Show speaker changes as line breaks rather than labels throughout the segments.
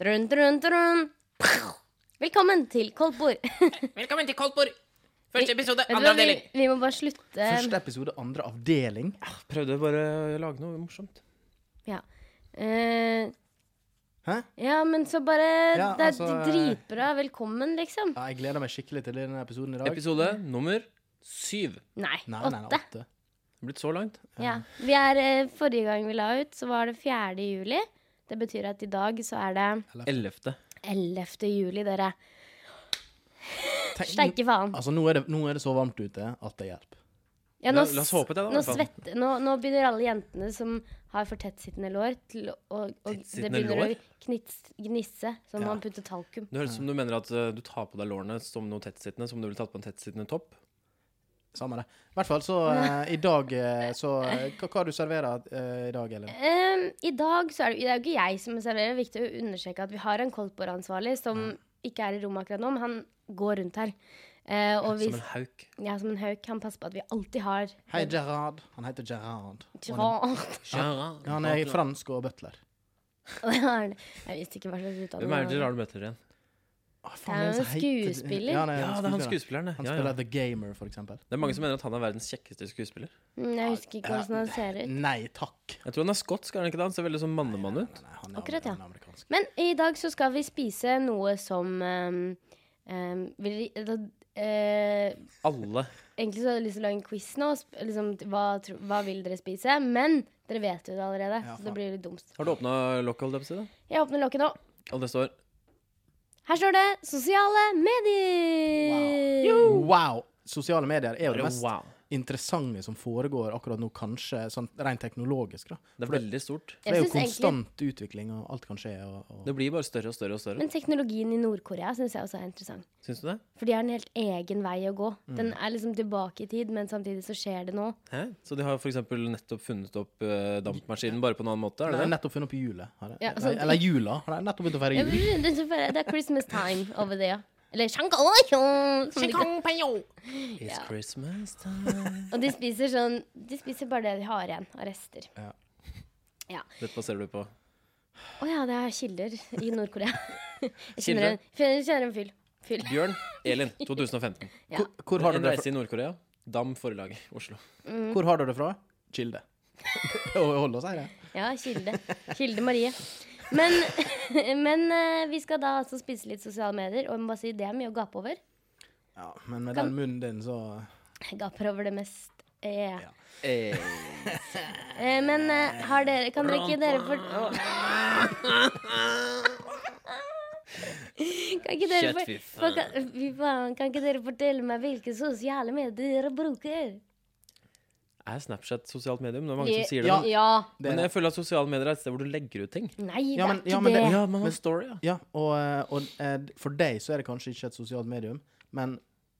Drun, drun, drun. Pow! Velkommen til Kolbord.
Velkommen til Koldtbord! Første episode,
Vet du
andre
hva, vi,
avdeling.
vi må bare slutte.
Første episode, andre avdeling.
Prøvde bare å lage noe morsomt.
Ja. Eh,
Hæ?
ja, men så bare
Ja,
Det er
altså,
dritbra. Velkommen, liksom.
Ja, jeg gleder meg skikkelig til denne episoden i dag.
Episode nummer syv.
Nei,
nei, nei, nei,
åtte.
åtte.
Det er blitt så langt.
Ja. Vi er, eh, forrige gang vi la ut, så var det 4. juli. Det betyr at i dag så er det
Ellevte.
11. juli, dere.
Tenk-
Steike faen.
Altså, nå er, det, nå er det så varmt ute at det hjelper.
Ja,
La-
nå, s-
la oss håpe det da, i
nå,
hvert fall.
svette, nå, nå begynner alle jentene som har for tettsittende lår, til å, og, og det
Tettsittende
begynner
lår?
å knits, gnisse som
Ja.
man putter talkum.
Det høres ut som du mener at eh, du tar på deg lårene som noe tettsittende, som du ville tatt på en tettsittende topp.
Samme det. I hvert fall så eh, i dag eh, så eh, Hva, hva du serverer eh, i dag, Elin?
Ehm, I dag så er det, det er jo ikke jeg som serverer. Det er viktig å understreke at vi har en koldtbordansvarlig som ikke er i rommet akkurat nå, men han går rundt her. Eh, og vi,
Som en hauk.
ja, som en hauk. Han passer på at vi alltid har
Hei, Gerard. Han heter Gerard. Og han-
Gerard.
Gerard.
Han er fransk og butler.
Jeg visste ikke hva slags
Hvem er
utdanning
det Gerard møter igjen?
Å,
Det er
hvem
jo
som heter-
skuespiller.
Ja, han
Ja, det er han
skuespiller.
skuespilleren,
Han
ja.
spiller
ja.
The Gamer, for eksempel.
Det er mange som mener at han er verdens kjekkeste skuespiller.
Mm, Jeg husker ikke hvordan han ser ut.
Nei takk.
Jeg tror han er skotsk, er han ikke det? Han ser veldig sånn mannemann ut.
Nei, nei, han er,
Akkurat, ja.
han er amerikansk.
Men i dag så skal vi spise noe som ehm, ehm, vil, da, eh,
Alle.
Egentlig så hadde jeg lyst til å lage en quiz nå. og sp- Liksom, t- hva, tro, hva vil dere spise? Men dere vet jo det allerede,
Ja,
så
faen.
det blir litt dumt.
Har du åpna lokket, holdt jeg på å si? da?
Jeg åpner lokket nå.
Og det står
Her står det 'sosiale medier'.
Wow! Sosiale medier er jo det
bare
mest
wow.
interessante som foregår akkurat nå, kanskje sånn rent teknologisk. da.
Det er veldig stort.
For det er
Jeg
jo
synes egentlig,
konstant utvikling, og alt kan skje. Og, og...
Det blir bare større og større og større.
men teknologien i Nord-Korea syns jeg også er interessant.
Syns du det?
For de har en helt egen vei å gå.
Mm.
Den er liksom tilbake i tid, men samtidig så skjer det nå.
Hæ? Så de har for eksempel nettopp funnet opp eh, dampmaskinen bare på en annen måte? Er
Nei,
det det?
nettopp funnet opp hjulet. har jeg-
Ja,
Nei,
sånn-
Eller jula. har jeg Nettopp begynt å feire
Jeg
jul.
blir- Det er så bare- det er Christmas time over det, ja. Eller shankaoyo, som de kaller-
It's Christmas time.
Og de spiser sånn De spiser bare det de har igjen av rester.
Dette baserer du på.
Å ja, det er kilder i Nord-Korea. Jeg kjenner
Kilder?
en, jeg kjenner en fyll. fyll.
Bjørn Elin, 2015.
Ja.
Hvor, hvor, har
en
du det
reise
fra?
i Nord-Korea. Dam forlag, Oslo.
hvor har du det fra? Kilde. Det holder å si det.
Ja, Kilde. Kilde Marie. Men, men eh, vi skal da altså spise litt sosiale medier, og jeg må bare si det er mye å gape over.
Ja, men med
Kan-
den munnen din, så
Jeg gaper over det mest. Eh.
Ja.
Eh, men eh, har dere Kan dere ikke dere for... Kan ikke dere for...
Shit, fy
for- kan, fy faen, kan ikke dere fortelle meg hvilke sosiale medier dere bruker?
Er Snapchat sosialt medium? Det er mange som sier det.
ja.
nå.
ja.
det
Men
er
jeg føler at sosiale medier er et sted hvor du legger ut ting.
Nei, det
Ja, men-
er ikke
ja, men det-
det.
Ja, man har story, ja.
Ja, og, eh, og eh, for deg så er det kanskje ikke et sosialt medium, men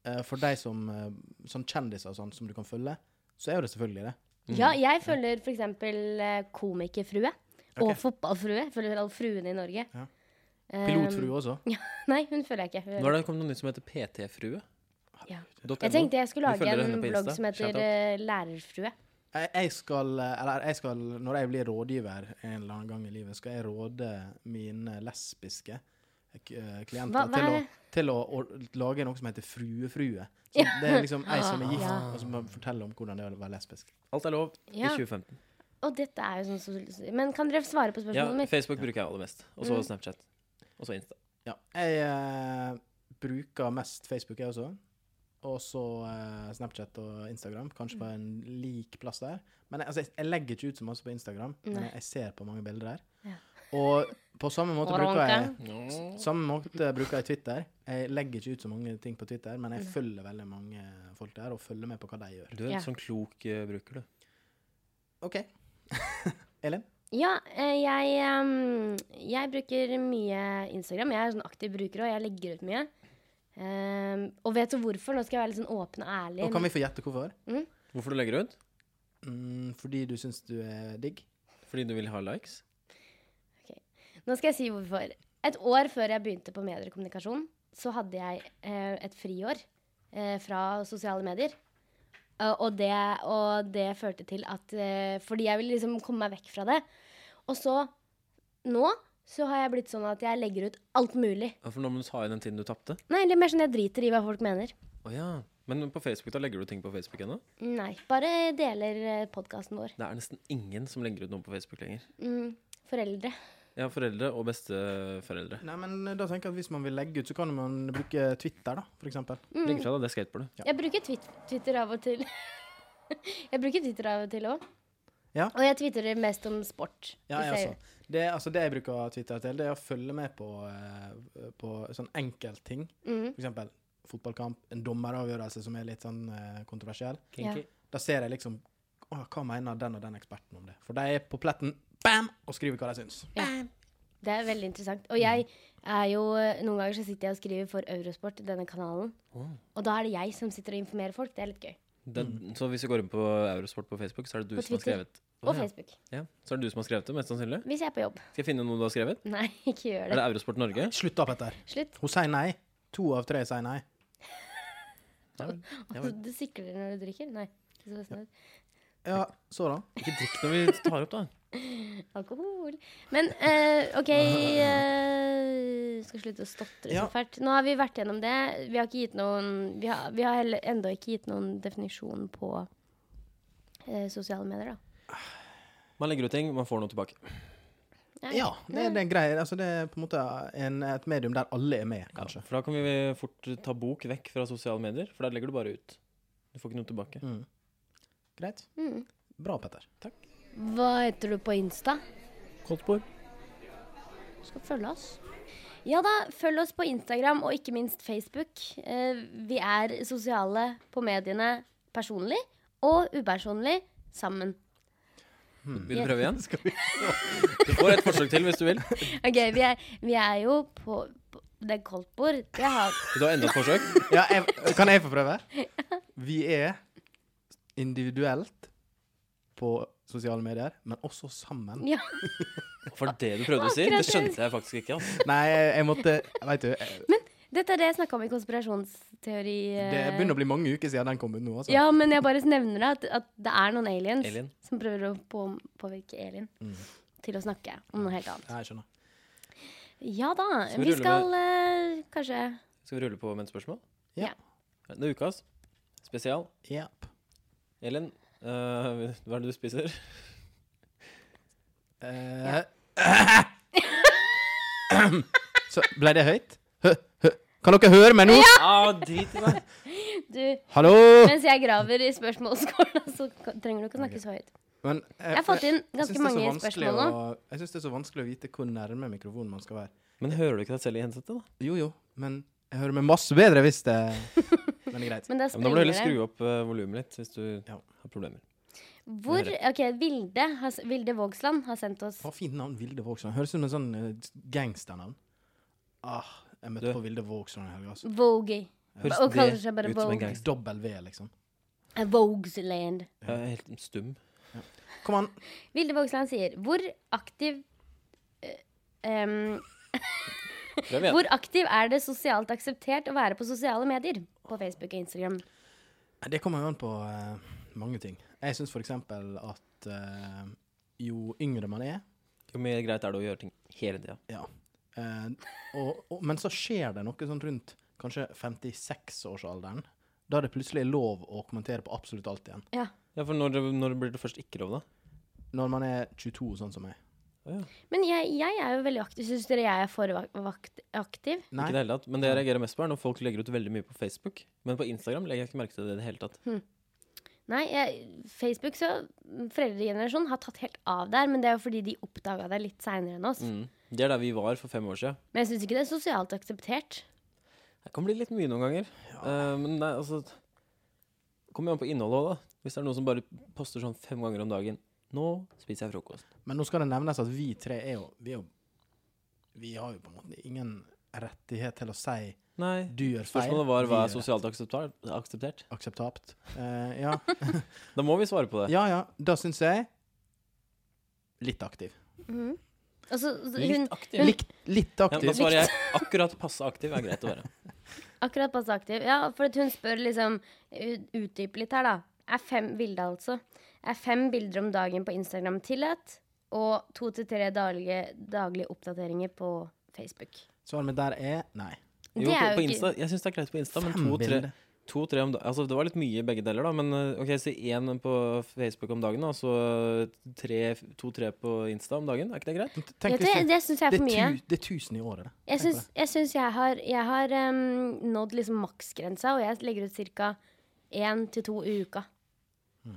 eh, for deg som eh, sånn kjendiser og sånn som du kan følge, så er jo det selvfølgelig det.
Ja, jeg følger for eksempel eh, komikerfrue. Og fotballfrue. Jeg følger alle fruene i Norge.
Ja.
Eh,
Pilotfrue også.
Nei, hun føler jeg ikke. Hun-
Nå har det kommet noe nytt som heter PT-frue.
Ja.
.no.
Jeg tenkte jeg skulle
Vi følger
lage en
henne på
blogg
Insta.
som heter
Shout out.
eh, Lærerfrue.
Jeg, jeg skal, eh, eller jeg skal, når jeg blir rådgiver en eller annen gang i livet, skal jeg råde mine lesbiske eh, k- eh, klienter
Hva- hva
til,
er
å,
det?
til å, å lage noe som heter fruefrue. Så det er liksom ei som er gift,
Ah. Ja.
og som bare forteller om hvordan det er å være lesbisk.
Alt er lov
Ja.
i 2015.
Og dette er jo sånn sosial... Men kan dere svare på
Ja,
spørsmålet mitt? Mm.
Facebook bruker jeg aller mest. Og så Snapchat. Og så Insta.
Ja. Jeg eh, bruker mest Facebook, jeg også. Og så eh, Snapchat og Instagram. Kanskje på en lik plass der. Men jeg, altså, jeg, jeg legger ikke ut så masse på Instagram, men jeg, jeg ser på mange bilder der. Og på samme måte
Og
bruker jeg
runke.
Samme måte bruker jeg Twitter. Jeg legger ikke ut så mange ting på Twitter, men jeg følger veldig mange folk der, og følger med på hva de gjør.
Du er en
Ja.
sånn klok eh, bruker, du.
OK. Elin?
Ja, eh, jeg, ehm, jeg bruker mye Instagram. Jeg er sånn aktiv bruker òg. Jeg legger ut mye. Ehm, og vet du hvorfor? Nå skal jeg være litt sånn åpen og ærlig.
Og kan vi få gjette hvorfor?
Hvorfor du legger ut?
Mm, fordi du syns du er digg?
Fordi du vil ha likes?
Nå skal jeg si hvorfor. Et år før jeg begynte på medier og kommunikasjon, så hadde jeg eh, et friår eh, fra sosiale medier. Eh, og, det, og det førte til at eh, Fordi jeg ville liksom komme meg vekk fra det. Og så nå så har jeg blitt sånn at jeg legger ut alt mulig.
Ja, For nå må du ta i den tiden du tapte.
Nei, eller mer sånn jeg driter i hva folk mener.
Å ja. Men på Facebook, da legger du ting på Facebook ennå?
Nei, bare deler podkasten vår.
Det er nesten ingen som legger ut noe på Facebook lenger.
Mm, foreldre.
Jeg har foreldre og besteforeldre.
Nei, men eh, da tenker jeg at hvis man vil legge ut, så kan man bruke Twitter, da, for eksempel.
Mm.
Legg fra deg det skateboardet.
Jeg bruker twit Twitter av og til. jeg bruker Twitter av og til òg.
Ja.
Og jeg twitterer mest om sport.
Ja,
hvis
jeg
jeg
også. Det, altså, det jeg bruker Twitter til, det er å følge med på, eh, på sånn enkeltting.
Mhm.
For eksempel fotballkamp, en dommeravgjørelse som er litt sånn eh, kontroversiell.
Ja.
Da ser jeg liksom Å, hva mener den og den eksperten om det? For de er på pletten, bam, og skriver hva de syns.
Det er veldig interessant. Og jeg er jo Noen ganger så sitter jeg og skriver for Eurosport, denne kanalen. Og da er det jeg som sitter og informerer folk. Det er litt gøy.
Det, så hvis du går inn på Eurosport på Facebook, så er det du
På
som
Twitter.
har skrevet
Og
Å, ja.
Facebook.
ja. Så er det du som har skrevet det, mest sannsynlig.
Hvis jeg er på jobb.
Skal jeg finne noe du har skrevet?
Nei, ikke gjør
Er
det.
det Eurosport Norge?
Slutt da, Petter.
Slutt.
Hun sier nei. To av tre sier nei.
Ja,
Altså,
vel.
du sikler når du drikker? Nei. Det er så snilt.
Ja, så da?
Ikke drikk når vi tar opp, da.
Alkohol. Men eh, OK eh, Skal slutte å stotre
Ja.
så fælt. Nå har vi vært gjennom det. Vi har ikke gitt noen Vi har, vi har heller ennå ikke gitt noen definisjon på eh, sosiale medier, da.
Man legger ut ting, man får noe tilbake.
Nei.
Ja, det, det er greit. Altså, det er på en måte en, et medium der alle er med, kanskje.
For da kan vi fort ta bok vekk fra sosiale medier, for der legger du bare ut. Du får ikke noe tilbake.
Greit.
Mm.
Bra, Petter. Takk.
Hva heter du på Insta?
Koldtbord.
skal følge oss. Ja da, følg oss på Instagram og ikke minst Facebook. Eh, vi er sosiale på mediene personlig og upersonlig sammen.
Vil du prøve igjen? Du får et forsøk til hvis du vil. Vil
Ok, vi er, vi er jo på, på Det er koldt bord. Det har
du ha enda et forsøk?
Ja, jeg, kan jeg få prøve? Vi er individuelt på sosiale medier, men også sammen.
Ja.
For det du prøvde å si, det skjønte jeg faktisk ikke. Altså.
Nei, jeg, jeg måtte Veit du, jeg-
Dette er det jeg snakka om i konspirasjonsteori. eh,
det begynner å bli mange uker siden den kom ut nå. Altså.
Ja, men jeg bare nevner det, at, at det er noen aliens
sånn. Alien. Mm.
som prøver å på, påvirke Elin til å snakke om noe helt annet.
Ja, jeg skjønner.
Ja da.
vi
Vi
rulle
skal eh, kanskje
Skal vi rulle på med et spørsmål?
Ja.
Ja.
Det er ukas spesial.
Yep.
Elin, eh, hva er det du spiser?
Eh, Så ble det høyt? Hø, hø. Kan dere høre meg nå?
Ah, drit i det.
Du,
Hallo!
Mens jeg graver i spørsmålsskåla, så ka- trenger du ikke å snakke så høyt.
Men, eh,
Jeg har fått inn
jeg syns det
ganske
er så
mange
vanskelig
spørsmål nå.
å- Jeg syns det er så vanskelig å vite hvor nærme mikrofonen man skal være.
Men hører du ikke deg selv i headsetet, da?
Jo, jo, men jeg hører meg masse bedre hvis det Men det er greit.
Men da
Ja, men da må du
sprenger
heller
det.
skru opp uh, volumet litt hvis du
Ja.
har problemer.
Hvor OK, Vilde, har, s- Vilde Vågsland har sendt oss
Hva fint navn Vilde Vågsland. Høres ut som en sånn eh, gangsternavn. Ah, jeg møtte
Du.
på Vilde Vågsland i helga. altså.
Vogue.
Høres
Og kaller seg bare
det ut som
Vogue.
en gangster?
Dobbel V, liksom.
Eh, Vogueland.
Jeg er helt stum.
Kom an.
Vilde Vågsland sier Hvor aktiv eh, em,
Prøv igjen.
Hvor aktiv er det sosialt akseptert å være på sosiale medier? På Facebook og Instagram.
Det kommer jo an på eh, mange ting. Jeg syns for eksempel at eh, jo yngre man er
Jo mer greit er det å gjøre ting hele tida.
Ja. Eh, og, og, men så skjer det noe sånn rundt kanskje 56-årsalderen. Da det plutselig er lov å kommentere på absolutt alt igjen.
Ja.
Ja, for når, når blir det først ikke lov, da?
Når man er 22, sånn som meg.
Men jeg, jeg er jo veldig aktiv. Syns dere jeg er for vak- vakt- aktiv?
Nei.
Ikke i det hele tatt. Men det jeg reagerer mest på, er når folk legger ut veldig mye på Facebook. Men på Instagram legger jeg ikke merke til det i det hele tatt.
Hm. Nei, jeg, Facebook så Foreldregenerasjonen har tatt helt av der, men det er jo fordi de oppdaga det litt seinere enn oss.
Mm. Det er der vi var for fem år siden.
Men jeg syns ikke det er sosialt akseptert.
Det kan bli litt mye noen ganger. Eh, men det er altså Kommer jo an på innholdet òg, da. Hvis det er noen som bare poster sånn fem ganger om dagen. Nå spiser jeg frokost.
Men nå skal det nevnes at vi tre er jo Vi, er jo, vi har jo på en måte ingen rettighet til å si
Nei.
du gjør feil.
Spørsmålet var hva
vi
er
gjør
sosialt akseptar- akseptert.
akseptabelt. Eh, ja.
Da må vi svare på det.
ja ja, da syns jeg Litt aktiv.
Altså, så hun,
Litt aktiv.
Likt, litt
Ja, da
aktiv.
svarer jeg akkurat passe aktiv er greit å være.
akkurat passe aktiv. Ja, for at hun spør liksom ut- Utdyp litt her, da. Er fem bilder, altså. Er fem bilder om dagen på Instagram tillatt? og to til tre daglige, daglige oppdateringer på Facebook.
Svaret mitt der er nei.
Jo,
Det
på,
er
på
jo ikke-
Insta. Jeg syns det er greit på Insta, men
Fem
to-tre
bilder.
to, tre om dagen Altså, det var litt mye i begge deler, da, men eh, OK, si én på Facebook om dagen, og så to-tre på Insta om dagen. Er ikke det greit?
Ja,
Tenk
det
hvis du-
det syns jeg er for mye.
tu- det er tusen i året. det.
Jeg
Tenk
syns
på det.
jeg, syns jeg har, jeg har em, nådd liksom maksgrensa, og jeg legger ut ca. én til to i uka.
Mm.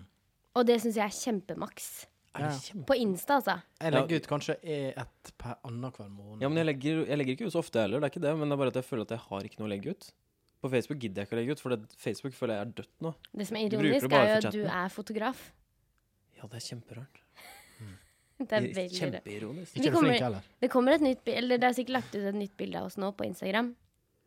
Og det syns jeg er kjempemaks.
Er det
Ja.
kjempe...
På Insta, altså.
Jeg
Ja.
legger ut kanskje e- ett per annenhver måned.
Ja, men jeg legger, jeg legger ikke ut så ofte heller, det er ikke det, men det er bare at jeg føler at jeg har ikke noe å legge ut. På Facebook gidder jeg ikke å legge ut, for det, Facebook føler jeg er dødt nå.
Det som er
Du bruker det
ironisk,
bare
er jo
for
at du
chatten.
er fotograf.
Ja, det er kjemperart.
Det er veldig rart.
Kjempeironisk.
Ikke er du
kommer-
flink heller.
Det kommer et nytt bi- Eller det er sikkert lagt ut et nytt bilde av oss nå på Instagram.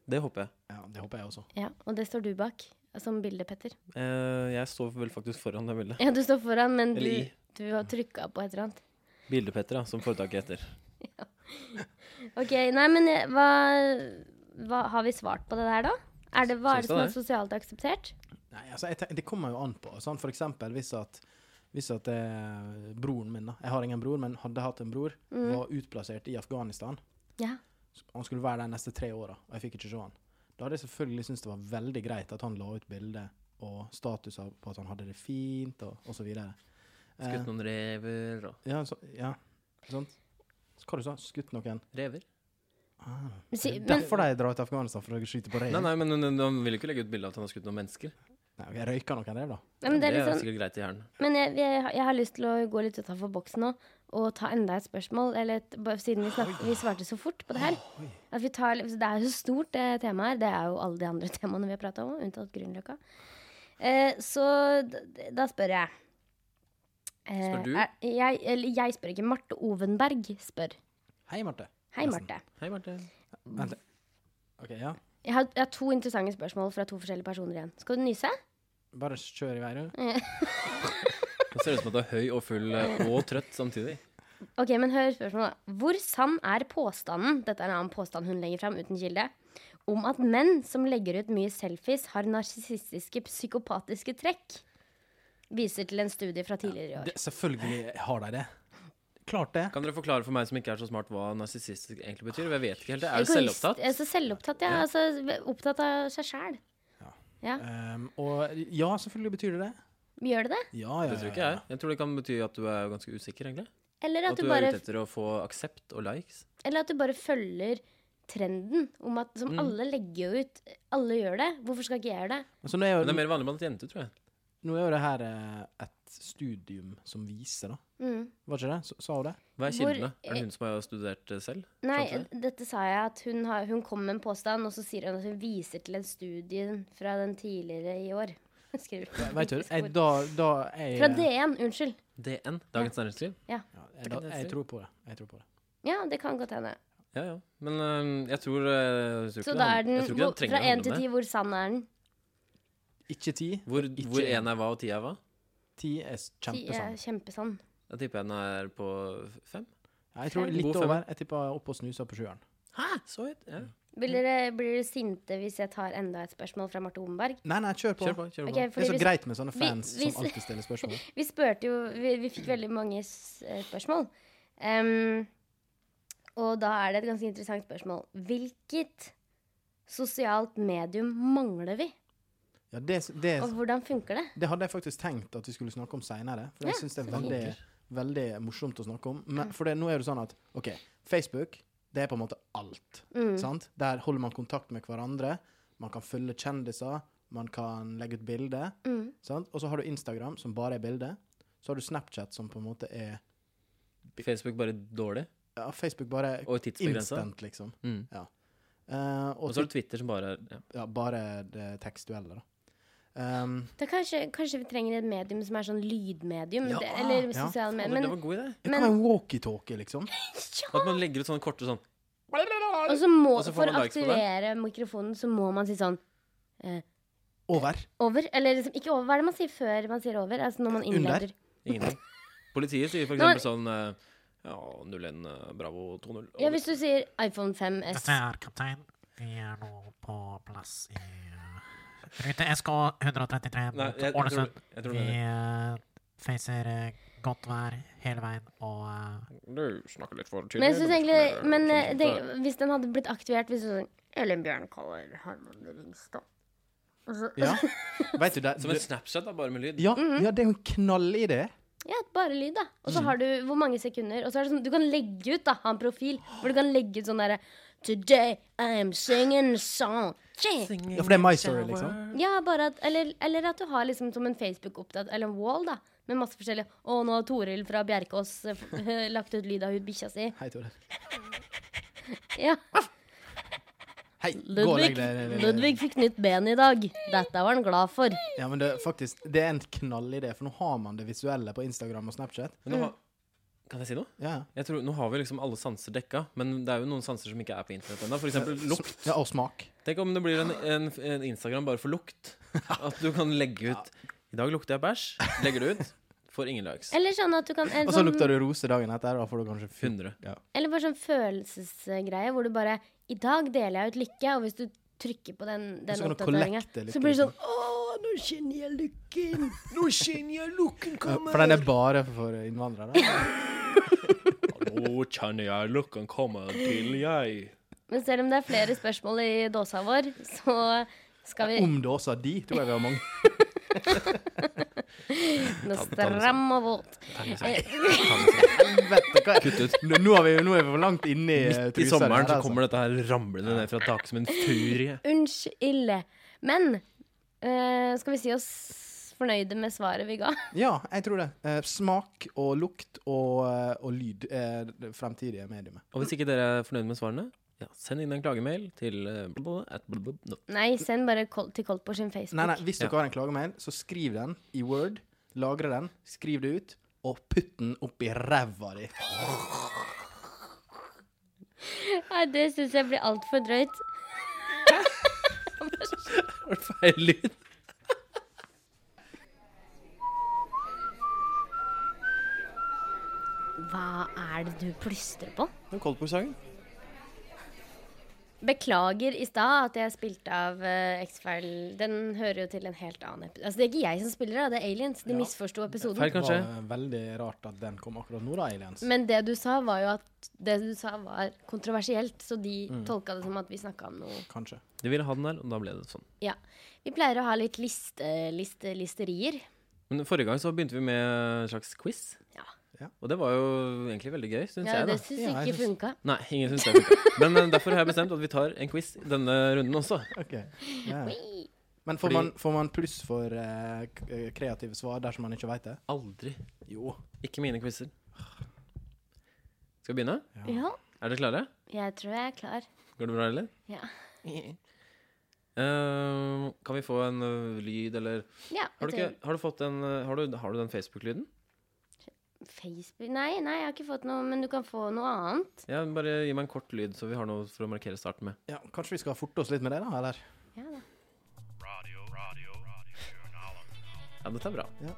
Det håper jeg.
Ja, det håper jeg også.
Ja, Og det står du bak som bilde, Petter.
Eh, jeg står vel faktisk foran det bildet.
Ja, du står foran, men du,
Eller i.
du har trykka på et eller annet.
Bildepetter, ja, som foretaket heter.
Ok, nei, men eh, hva, hva Har vi svart på det der, da? Er det, hva er
Syns
det som
jeg
er sosialt akseptert?
Nei, altså, jeg tenk, det kommer jo an på. Sånn, for eksempel hvis at, hvis at eh, broren min, da. jeg har ingen bror, men hadde hatt en bror, var utplassert i Afghanistan.
Ja.
Han skulle være der de neste tre åra, og jeg fikk ikke se han. Da hadde jeg selvfølgelig syntes det var veldig greit at han la ut bilde og status av på at han hadde det fint, og, og så videre. Eh,
Skutt noen rever og
ja, så, ja, sant? Så Hva du sa du? Skutt noen?
Rever?
Ah.
Men si- men-
Derfor de drar til Afghanistan, for å skyte på rev?
Nei, nei, men men han vil jo ikke legge ut bilde av at han har skutt noen mennesker.
Nei, ok, Røyka noen rev, da?
Ja, men det er
det
litt sånn,
sikkert greit i hjernen.
men jeg, jeg, jeg har lyst til å gå litt utafor boksen nå og ta enda et spørsmål. Eller et, bare siden vi, snak, vi svarte så fort på det her. At vi tar, det er jo så stort, det temaet her. Det er jo alle de andre temaene vi har prata om, unntatt Grünerløkka. Eh, så da, da spør jeg. Eh,
Spør du?
Er, jeg, eller jeg spør ikke. Marte Ovenberg spør.
Hei, Marte.
Hei, Marte.
Hei, Marte.
Vent litt. OK, ja.
Jeg har, jeg har to interessante spørsmål fra to forskjellige personer igjen. Skal du nyse?
Bare kjør i vei, du.
Det ser ut som at du er høy og full eh, og trøtt samtidig.
Ok, men hør spørsmålet. da. Hvor sann er påstanden Dette er en annen påstand hun legger fram uten kilde. Om at menn som legger ut mye selfies, har narsissistiske, psykopatiske trekk. Viser til en studie fra tidligere i år.
Det, selvfølgelig har de det. Klart det.
Kan dere forklare for meg som ikke er så smart, hva narsissistisk egentlig betyr? Jeg vet ikke helt. Er du
Egoist-
selvopptatt?
Altså selvopptatt, ja. Altså, opptatt av seg sjæl. Ja.
Um, og ja, selvfølgelig betyr det det.
Gjør det det?
Ja, ja,
Det tror ikke
ja,
jeg. Jeg tror det kan bety at du er ganske usikker, egentlig.
Eller
At
at
du
du
er
bare,
ute etter å få aksept og likes.
eller at du bare følger trenden om at
Mm.
Som alle legger jo ut. Alle gjør det. Hvorfor skal ikke jeg gjøre det?
ja. Altså, nå, er
Men det er
jo,
mer vanlig blant jenter, tror jeg.
nå er jo det her eh, et studium som viser, da.
Mm.
Var ikke det? S- Sa hun det?
Hva er
Hvor-
kildene? Er det hun som har studert eh, selv?
Nei,
Kanskje?
dette sa jeg at hun, har, hun kom med en påstand, og så sier hun at hun viser til en studie fra den tidligere i år. Skriver hun.
Vet du, jeg, da, da jeg,
Fra DN, unnskyld.
DN, Dagens Næringsliv.
Ja, jeg, da, jeg tror på det. Jeg tror på det.
Ja, det kan godt hende.
Ja, ja. Men eh, jeg tror eh, jeg tror
Så da
ikke det
er
han-
den
jeg tror ikke
hvor,
den trenger
fra
å
én
handle
til
om
ti,
det.
hvor sann er den?
Ikke ti.
Hvor,
Ikke
hvor
en.
én er hva, og ti er hva?
Ti er s-
Ti er
kjempesann.
kjempesann.
Da tipper jeg den er på fem.
Ja, jeg tror
God
litt
femmer.
over. Jeg tippa opp og snusa på sjueren.
Hæ? Så høyt? Ja.
Blir dere, blir dere sinte hvis jeg tar enda et spørsmål fra Marte Ovenberg?
Nei, nei, kjør på.
Kjør på. kjør på.
Ok,
Det er
fordi
så
vi-
greit med sånne
vi-
fans
vi-
som alltid stiller spørsmål.
Vi spurte jo Vi, vi fikk veldig mange s- eh, spørsmål. Em, og da er det et ganske interessant spørsmål. Hvilket sosialt medium mangler vi?
Ja, det, det,
Og hvordan funker det?
Det hadde jeg faktisk tenkt at vi skulle snakke om seinere. For jeg synes det er veldig, veldig morsomt å snakke om. Men, for det, nå er det sånn at OK, Facebook det er på en måte alt.
Mm.
Mm. Sånn.
Sant? Der holder man kontakt med hverandre. Man kan følge kjendiser. Man kan legge ut bilder.
Mm.
Sant? Og så har du Instagram, som bare er bilder. Så har du Snapchat, som på en måte er
Facebook bare dårlig.
ja, Facebook bare
Og tidsbegrensa.
instant, liksom.
Mm.
Ja. Eh, og
Og så har du Twitter som bare er ja.
ja, bare det tekstuelle, da. Um,
Da kanskje, kanskje vi trenger et medium som er sånn lydmedium?
Ja,
det, eller
ja.
sosiale
Fader,
medier.
Det
Men,
var en god idé.
det
Men-
kan være en walkietalkie, liksom.
At man legger ut sånne korte sånn
og så må,
Og så får
for
man
å
likes på det.
aktivere mikrofonen, så må man si sånn
Over.
over. Eller liksom ikke over. Hva er det man sier før man sier over? Altså når man
Under.
innleder.
Ingenting. Politiet sier for
Nå er-
eksempel sånn eh, Ja, 01 eh, Bravo 20.
Ja, hvis du sier iPhone 5S.
Dette er kaptein. Vi er nå på plass i eh, rute SK 133
Nei, jeg, jeg,
mot
tror,
Ålesund.
jeg tror det
Vi
er det.
eh, facer eh, godt vær hele veien, og eh,
Du snakker litt for tydelig.
Men jeg synes
du
egentlig
snakker mer
Men eh,
sånn
det,
som det.
hvis den hadde blitt aktivert hvis du sånn Ellen Bjørn kaller Herman Ringstad. Og så-
Ja. Vet du det?
Som en
Du,
Snapchat, da, bare med lyd.
ja, ja, det er jo en knallidé.
Ja, bare lyd, da. Og
Mm.
så har du hvor mange sekunder. Og så er det sånn, du kan legge ut, da, ha en profil hvor du kan legge ut sånn derre Today I'm singing a song. Yeah.
Ja, for det er my story, liksom.
Ja, bare at eller, eller at du har liksom som en Facebook-oppdatering, eller en wall, da, med masse forskjellige Å, nå har Toril fra Bjerkås eh, f- lagt ut lyd av hun bikkja si.
Hei, Tore.
Ja.
Hei, gå og legg
Ludvig,
deg.
Ludvig fikk nytt ben i dag. Dette var han glad for.
Ja, men det, er faktisk, det er en knallidé, for nå har man det visuelle på Instagram og Snapchat.
Men nå har, kan jeg si noe?
Ja,
Jeg tror, nå har vi liksom alle sanser dekka, men det er jo noen sanser som ikke er på internett ennå. F.eks. lukt.
ja og smak.
Tenk om det blir en, en, en Instagram bare for lukt. At du kan legge ut I dag lukter jeg bæsj. Legger du ut, får ingen likes.
Eller sånn at du kan eller
Og så
sånn-
lukter du rose dagen etter, da får du kanskje fun-
100.
Ja.
Eller bare sånn følelsesgreie hvor du bare I dag deler jeg ut lykke, og hvis du trykker på den, den
kan du
oppdateringa,
collecte lykke,
så blir det
liksom.
sånn Åh, nå kjenner jeg lykken.
Nå kjenner jeg lukken
Ja, For den er bare for innvandrere?
Nå kjenner jeg lukken komme til jeg.
Men selv om det er flere spørsmål i dåsa vår, så skal vi
Om det også er de, tror jeg vi har mange.
nå
sånn.
stram og våt.
Helvete, hva er
Kutt ut.
Nå, nå er vi nå er vi for langt inne i eh,
Midt i
trusa
sommeren
der,
så
altså.
kommer dette her ramlende ned fra taket som en furie.
Unnskyld. Men eh, skal vi si oss fornøyde med svaret vi ga?
Ja, jeg tror det. Eh, smak og lukt og, eh, og lyd er det fremtidige mediumet.
Og hvis ikke dere er fornøyd med svarene, ja, send inn en klagemail til eh, blablabla at blablabla dot
Nei, send bare kol til Kolt på sin Facebook.
Nei, nei, hvis dere har en klagemail, så skriv den i Word, lagre den, skriv det ut, og putt den opp i ræva di.
Nei, det syns jeg blir altfor drøyt.
Var det feil lyd?
Hva er det du plystrer på?
Coldplay-sangen.
Beklager i stad at jeg spilte av eh, X-File. Den hører jo til en helt annen episode. Altså, det er ikke jeg som spiller, da. Det er aliens. De misforsto episoden.
Feil, kanskje?
Det var eh, veldig rart at den kom akkurat nå, da, aliens.
Men det du sa, var jo at det du sa, var kontroversielt. Så de tolka det som at vi snakka om noe
Kanskje.
De ville ha den der, og da ble det sånn.
Ja. Vi pleier å ha litt liste, liste, listerier.
Men forrige gang så begynte vi med en slags quiz.
Ja.
Ja.
Og det var jo egentlig veldig gøy, syns
Ja,
jeg.
det
da.
syns
Ja, jeg
jeg ikke
syns-
funka.
Nei, ingen syns det. funker. Men eh, derfor har jeg bestemt at vi tar en quiz denne runden også.
Ok. Ja.
Ui.
Men får
Fordi-
man, får man pluss for eh, k- eh, kreative svar dersom man ikke veit det?
Aldri.
Jo.
Ikke mine quizer. Skal vi begynne?
Ja,
Er dere klare?
jeg tror jeg er klar.
Går det bra, eller?
Ja.
Eh, kan vi få en ø, lyd, eller
ja
Har du,
jeg
ikke, har du fått en ø, Har du, har du den Facebook-lyden?
tror- Facebook Nei, nei, jeg har ikke fått noe, men du kan få noe annet.
Ja, bare gi meg en kort lyd, så vi har noe for å markere starten med.
Ja, kanskje vi skal forte oss litt med det, da? Eller?
Ja da.
Ja, dette er bra.
Ja.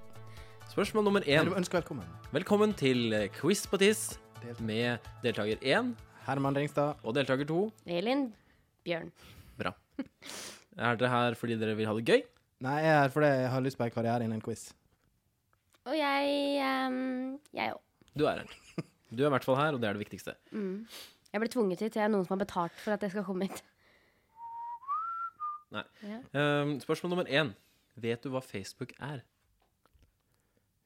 Spørsmål nummer én.
Men du ønsker velkommen.
Velkommen til ø, Quiz på tiss
Deltaker.
med deltaker én
Herman Ringstad.
og deltaker to.
Elin Bjørn.
Bra. Er dere her fordi dere vil ha det gøy?
Nei, jeg er her fordi jeg har lyst på en karriere innen quiz.
Og jeg ehm, Jeg òg.
Du er her. Du er i hvert fall her, og det er det viktigste.
Jeg ble tvunget hit. Jeg er noen som har betalt for at jeg skal komme hit.
Nei.
Ja.
Ehm, spørsmål nummer én. Vet du hva Facebook er?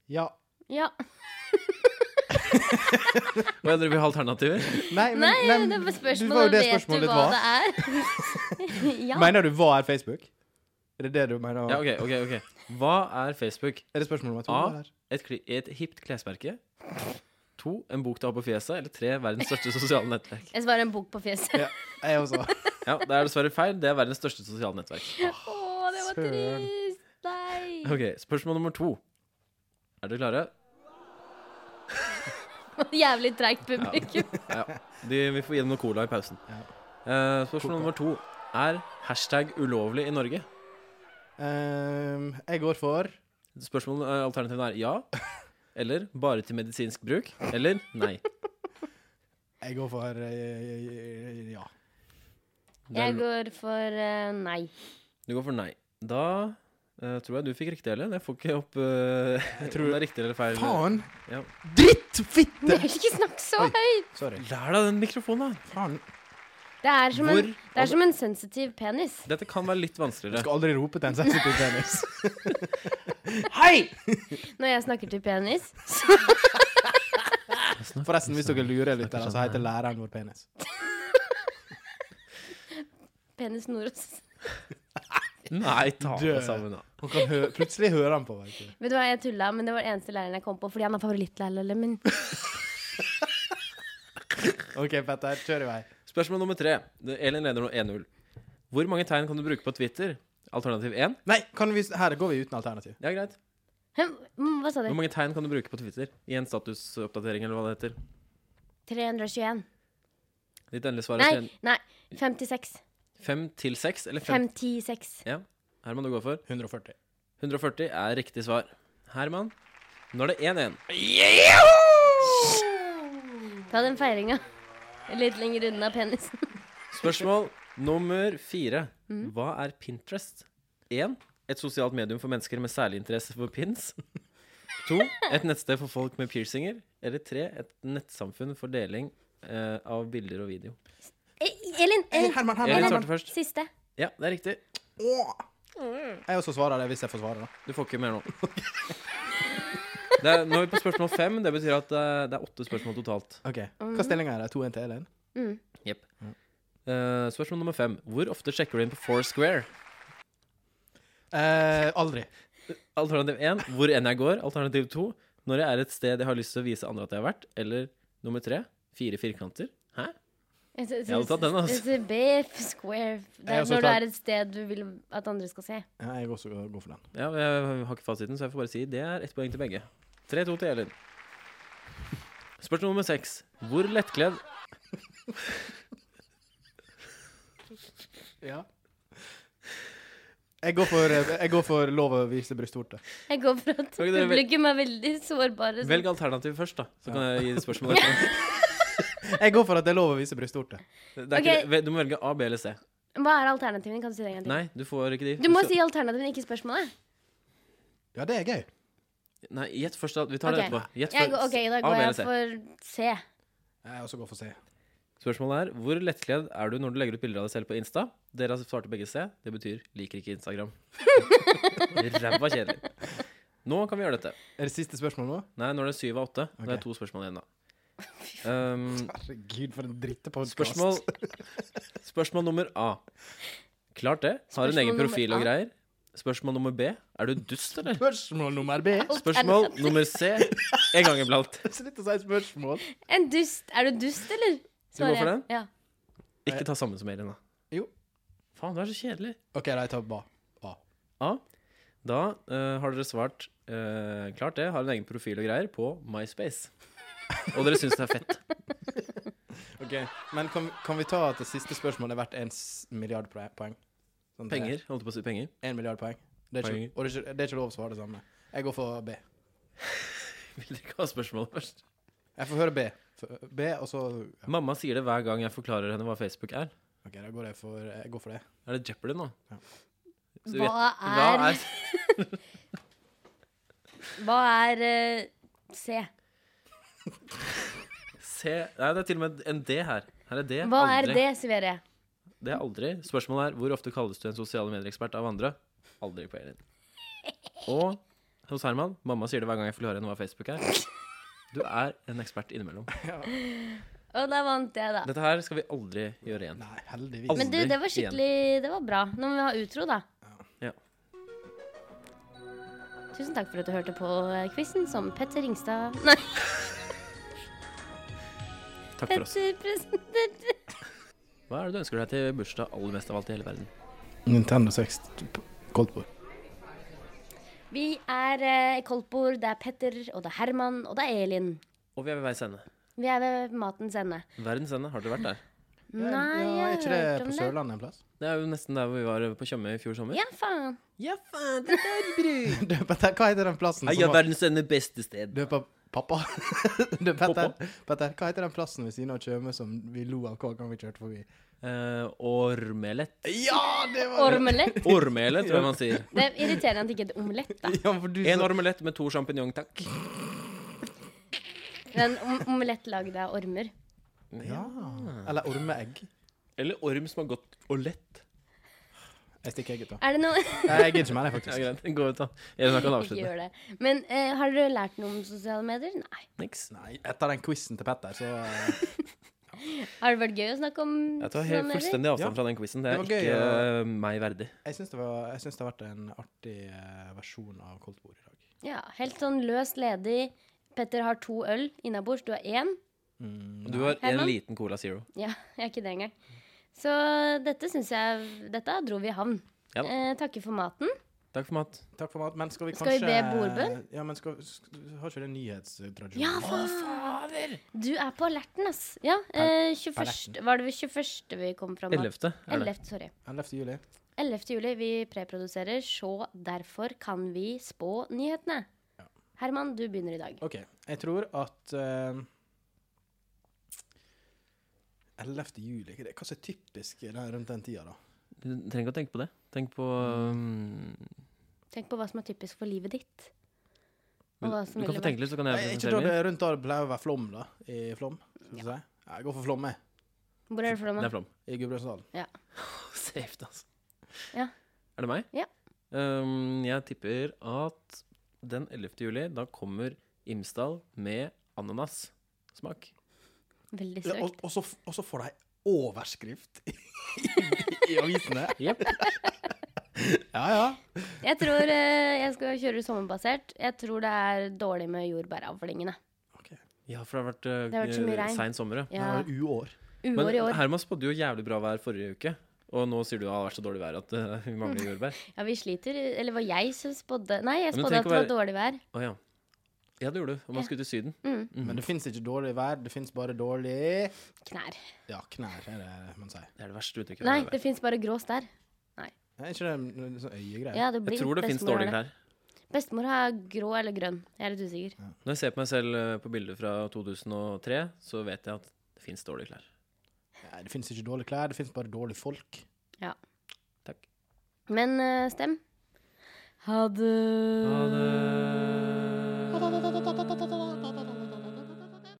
Ja.
Ja.
Og jeg dere vil ha alternativer?
Nei, men,
Nei,
men
det var
du- det var jo
spørsmålet.
det
Vet du
spørsmålet
hva
var.
det er? ja.
Mener du hva er Facebook? Er det det du mener?
Ja, ok, Ah. ok, ok. Hva er Facebook?
Er det spørsmål nummer to?
A.
eller?
Et, kli- et hipt klesmerke. To. En bok du har på fjeset. Eller tre. Verdens største sosiale nettverk.
Jeg svarer en bok på fjeset.
Ja, jeg også.
Ja, Det er dessverre feil. Det er verdens største sosiale nettverk.
Å, det var
Søren.
trist. Nei.
Ok, Spørsmål nummer to. Er dere klare?
Jævlig treigt publikum.
Ja. De, vi får gi dem noe cola i pausen. Eh, spørsmål nummer to er hashtag ulovlig i Norge.
Ehm, jeg går for
Spørsmålet eh, Alternativet er ja. Eller bare til medisinsk bruk. Eller nei.
Jeg går for eh, ja.
Det er-
Jeg går for eh, nei.
Du går for nei. Da Eh, tror jeg du fikk riktig, eller? Jeg får ikke opp eh,
tror-
om det er riktig eller feil.
Faen!
Ja.
Drittfitte!
Ikke snakk så
Oi.
høyt!
Sorry.
Lær deg den mikrofonen, da!
Faen.
Det er som,
Hvor-
en, det er som en sensitiv penis.
Dette kan være litt vanskeligere.
Jeg skal aldri rope til en sensitiv penis.
Når jeg snakker til penis.
Forresten, hvis dere lurer litt, der, så heter læreren vår penis.
Penis Noros.
Nei, ta
Dø.
deg sammen, da.
Hun kan hø plutselig høre han på. Vet du.
Vet du hva, jeg tulla, men det var den eneste læreren jeg kom på fordi han er favorittlæreren min.
OK, Petter, kjør i vei.
Spørsmål nummer tre. Det- Elin leder nå 1-0. Hvor mange tegn kan du bruke på Twitter? Alternativ 1?
Nei, kan vi, her går vi uten alternativ.
Ja, greit.
Hæ? Mm, Hva sa du?
Hvor mange tegn kan du bruke på Twitter? I en statusoppdatering, eller hva det heter.
321.
Ditt endelige svar
Nei,
er
nei. 56.
5 til 6, eller 5?
56.
Ja. Herman, du går for?
140.
140 er riktig svar. Herman, nå er det 1-1.
Ta den feiringa. Litt lenger unna penisen.
Spørsmål nummer fire. Hva er Pinterest? 1. Et sosialt medium for mennesker med særlig interesse for pins. 2. Et nettsted for folk med piercinger. Eller 3. Et nettsamfunn for deling eh, av bilder og video.
Eh, Elin,
Hey,
Elin,
Herman, Herman,
Elin
Herman.
svarte først.
siste.
Ja, det er riktig.
Åh. Jeg også svarer det, hvis jeg får svare, da.
Du får ikke mer nå. Det er, nå er vi på spørsmål fem. Det betyr at det er, det er åtte spørsmål totalt.
OK. Hva stillinga er det? 2-1 til Elin?
Jepp. Eh, spørsmål nummer fem. Hvor ofte sjekker du inn på Foursquare?
Eh, aldri.
Alternativ 1, hvor enn jeg går. Alternativ 2, når jeg er et sted jeg har lyst til å vise andre at jeg har vært. Eller nummer 3, fire firkanter. Hæ?
Jeg
hadde tatt den, altså.
BF square. Det
Jeg
er
også
når du
tar-
er et sted du vil at andre skal se.
Ja, jeg også går går for den.
Ja, jeg har ikke fasiten, så jeg får bare si det er ett poeng til begge. 3-2 til Elin. Spørsmål nummer 6. Hvor lettkledd
Jeg går for, eh, jeg går for lov å vise brystvorte.
Jeg går for at
Ok, dere vel-
publikum er veldig sårbare. så-
Velg alternativet først, da. Så kan jeg gi spørsmål etterpå.
Jeg går for at det er lov å vise brystvorte.
Det er
Ok.
ikke, du må velge A, B eller C.
Hva er alternativene? Kan du si det en gang til?
Nei, du får ikke de.
Du må
så-
si alternativene, ikke spørsmålet.
Ja, det er gøy.
Nei, gjett først. da. Vi tar det
Ok.
etterpå. Gjett
Jeg, går-
først.
ok, da går
A, B eller
jeg
C.
for C.
Jeg også går for C.
Spørsmålet er hvor lettkledd er du når du legger ut bilder av deg selv på Insta? Dere har svart begge C. Det betyr liker ikke Instagram. Ræva kjedelig. Nå kan vi gjøre dette.
Er det siste spørsmål nå?
Nei, nå er det syv av åtte. Nå er
Ok.
det to spørsmål igjen, da. Um,
Herregud, for en drittepodkast.
spørsmål Spørsmål nummer A. Klart det. Har en
Spørsmål
egen
nummer
profil og
A.
greier. Spørsmål nummer B. Er du dust, eller?
Spørsmål nummer B.
Spørsmål
sånn.
nummer C. En gang iblant.
Slutt å si spørsmål.
En dust. Er du dust, eller?
Du går for den?
Ja.
Ikke ta sammen som Elin, da.
Jo.
Faen, du er så kjedelig.
OK, da jeg tar ba. A.
A. Da eh, har dere svart eh, klart det, har en egen profil og greier på MySpace. Og dere syns det er fett.
Ok, Men kan, kan vi ta at det siste spørsmålet er verdt en s- milliard pre- poeng? Sånn at det er
Penger. Holdt på å si penger.
En milliard poeng. Det er ikke,
Poeng.
og det er, ikke, det er ikke lov å svare det samme. Jeg går for B.
Vil dere ikke ha spørsmålet først?
Jeg får høre B. F- B, og så ja,
Mamma sier det hver gang jeg forklarer henne hva Facebook er.
OK, da går jeg for, jeg går for det.
Er det Jeopardy nå?
Ja.
Så vet-
Hva
hva
er Hva er eh, C?
C Nei, det er til og med en D her. Her er D.
Hva er
aldri.
det, Sivere?
Det er aldri. Spørsmålet er hvor ofte kalles du en sosiale medier-ekspert av andre? Aldri på Elin. Og hos Herman mamma sier det hver gang jeg forklarer henne hva Facebook er. Du er en ekspert innimellom.
Og da vant jeg, da.
Dette her skal vi aldri gjøre igjen.
Nei, heldigvis.
Men du,
aldri
det var
igjen.
skikkelig Det var bra. Nå må vi ha utro, da.
Ja.
Tusen takk for at du hørte på eh, quizen som Petter Ringstad Nei,
Takk for oss.
Petter presenterte.
Hva er det du ønsker deg til bursdag aller mest av alt i hele verden?
Nintendo 6 Coldboard.
Vi er eh, Koldtbord, det er Petter, og det er Herman, og det er Elin.
Og vi er ved veis ende.
Vi er ved matens ende.
Verdens ende. Har dere vært der?
Nei,
ja, er
jeg har
ikke det
hørt
på
om det.
Sørlandet en plass?
Det er jo nesten der hvor vi var på Tjøme i fjor sommer.
Ja, faen.
ja faen, det er brun!
Du, Petter, hva heter den plassen
Heia
som var
verdens ende beste sted.
Du, pa- pappa. Du, Petter, Petter, hva heter den plassen ved siden av Tjøme som vi lo av hver gang vi kjørte forbi?
eh, ormelet.
Ja, det var det!
Ormelett.
Ormelet, tror jeg man sier.
Det er irriterende at det ikke er et omelett, da.
Ja, for du
En
sa
ormelett med to sjampinjong, takk.
Men om omelett lagd av ormer.
Ja. Eller ormeegg.
Eller orm som har gått og lett.
Jeg stikker, jeg, gutta.
Er det noe
Nei, Jeg gidder ikke mer, jeg,
Ja,
faktisk.
greit. Gå ut, da. Eller man kan
Ikke
avslutte.
gjør det. Men eh, har dere lært noe om sosiale medier? Nei.
Niks.
Nei, etter den quizen til Petter, så eh,
Har det vært gøy å snakke om
Jeg tar helt fullstendig avstand
Ja.
fra den quizen. Det er
Det var gøy,
ikke
ja.
eh, meg verdig.
Jeg syns det, var- jeg syns det har vært en artig eh, versjon av Koldt bord i dag.
Ja, helt sånn løst ledig. Petter har to øl innabords, du har én.
Du har en
Herman?
liten Cola Zero.
Ja, jeg er ikke det engang. Så dette syns jeg Dette dro vi i havn.
Ja da.
eh, takker for maten.
Takk for mat.
Takk for mat. Men skal vi
Skal vi
kanskje
be bordbønn?
Ja, men skal, sk- har ikke det nyhetstradisjon?
Ja, faen! Du er på alerten, ass. Ja, eh, 21.
alerten.
Var det ved 21. vi kom fra? mat?
11. er det.
11. Sorry.
11. juli.
11. juli, vi preproduserer, så derfor kan vi spå nyhetene. Herman, du begynner i dag.
OK. Jeg tror at eh, 11. juli Hva er det- hva som er typisk i den- rundt den tida, da?
Du trenger ikke å tenke på det. Tenk på um,
Tenk på hva som er typisk for livet ditt.
Du
Og hva som
du kan
ville
få
vært.
tenke litt, så kan jeg
Nei, ikke da
presentere
det
min.
er rundt da det pleier å være flom, da. I Flom. skal vi si. Ja, jeg går for Flom, jeg.
Hvor er det fra?
Det
Herman?
er flom.
I Gudbrandsdalen.
Safe, altså.
Ja.
Er det meg?
Ja.
Um, jeg tipper at den 11. juli, da kommer Imsdal med ananassmak.
Veldig
Ja,
søkt.
og, og, så f- og så får de overskrift i, i avisene.
Jepp.
Ja, ja.
Jeg tror eh, jeg skal kjøre sommerbasert. Jeg tror det er dårlig med jordbæravlingene.
Ja, for det har vært,
Det har vært så mye
uh,
regn.
sein sommer, ja.
Det
Ja,
var uår.
Uår
Men
i år.
Herman spådde jo jævlig bra vær forrige uke. Og nå sier du at det har vært så dårlig vær at uh, vi mangler
Mm.
jordbær.
Ja, vi sliter. Eller var jeg som spådde Nei, jeg
Men
spådde
tenk
at
å
det var dårlig vær.
Å ja. Ja, det gjorde du. Og man
Ja.
skulle til Syden.
Mm.
Men det fins ikke dårlig vær, det fins bare dårlig
Knær.
Ja, knær er det man sier.
Det er det verste uttrykket.
Nei,
jeg vet.
det fins bare grå stær.
Er ikke det en- en sånn øyegreie?
Ja, det blir
jeg tror det fins
bestemor har
dårlige klær.
det. Bestemor har grå eller grønn. Jeg er litt usikker.
Når jeg ser på meg selv uh, på bilder fra 2003, så vet jeg at det fins dårlige klær.
Nei, det fins ikke dårlige klær, det fins bare dårlige folk.
Takk.
Men eh, stem. Ha det.
Ha det.
Ha det.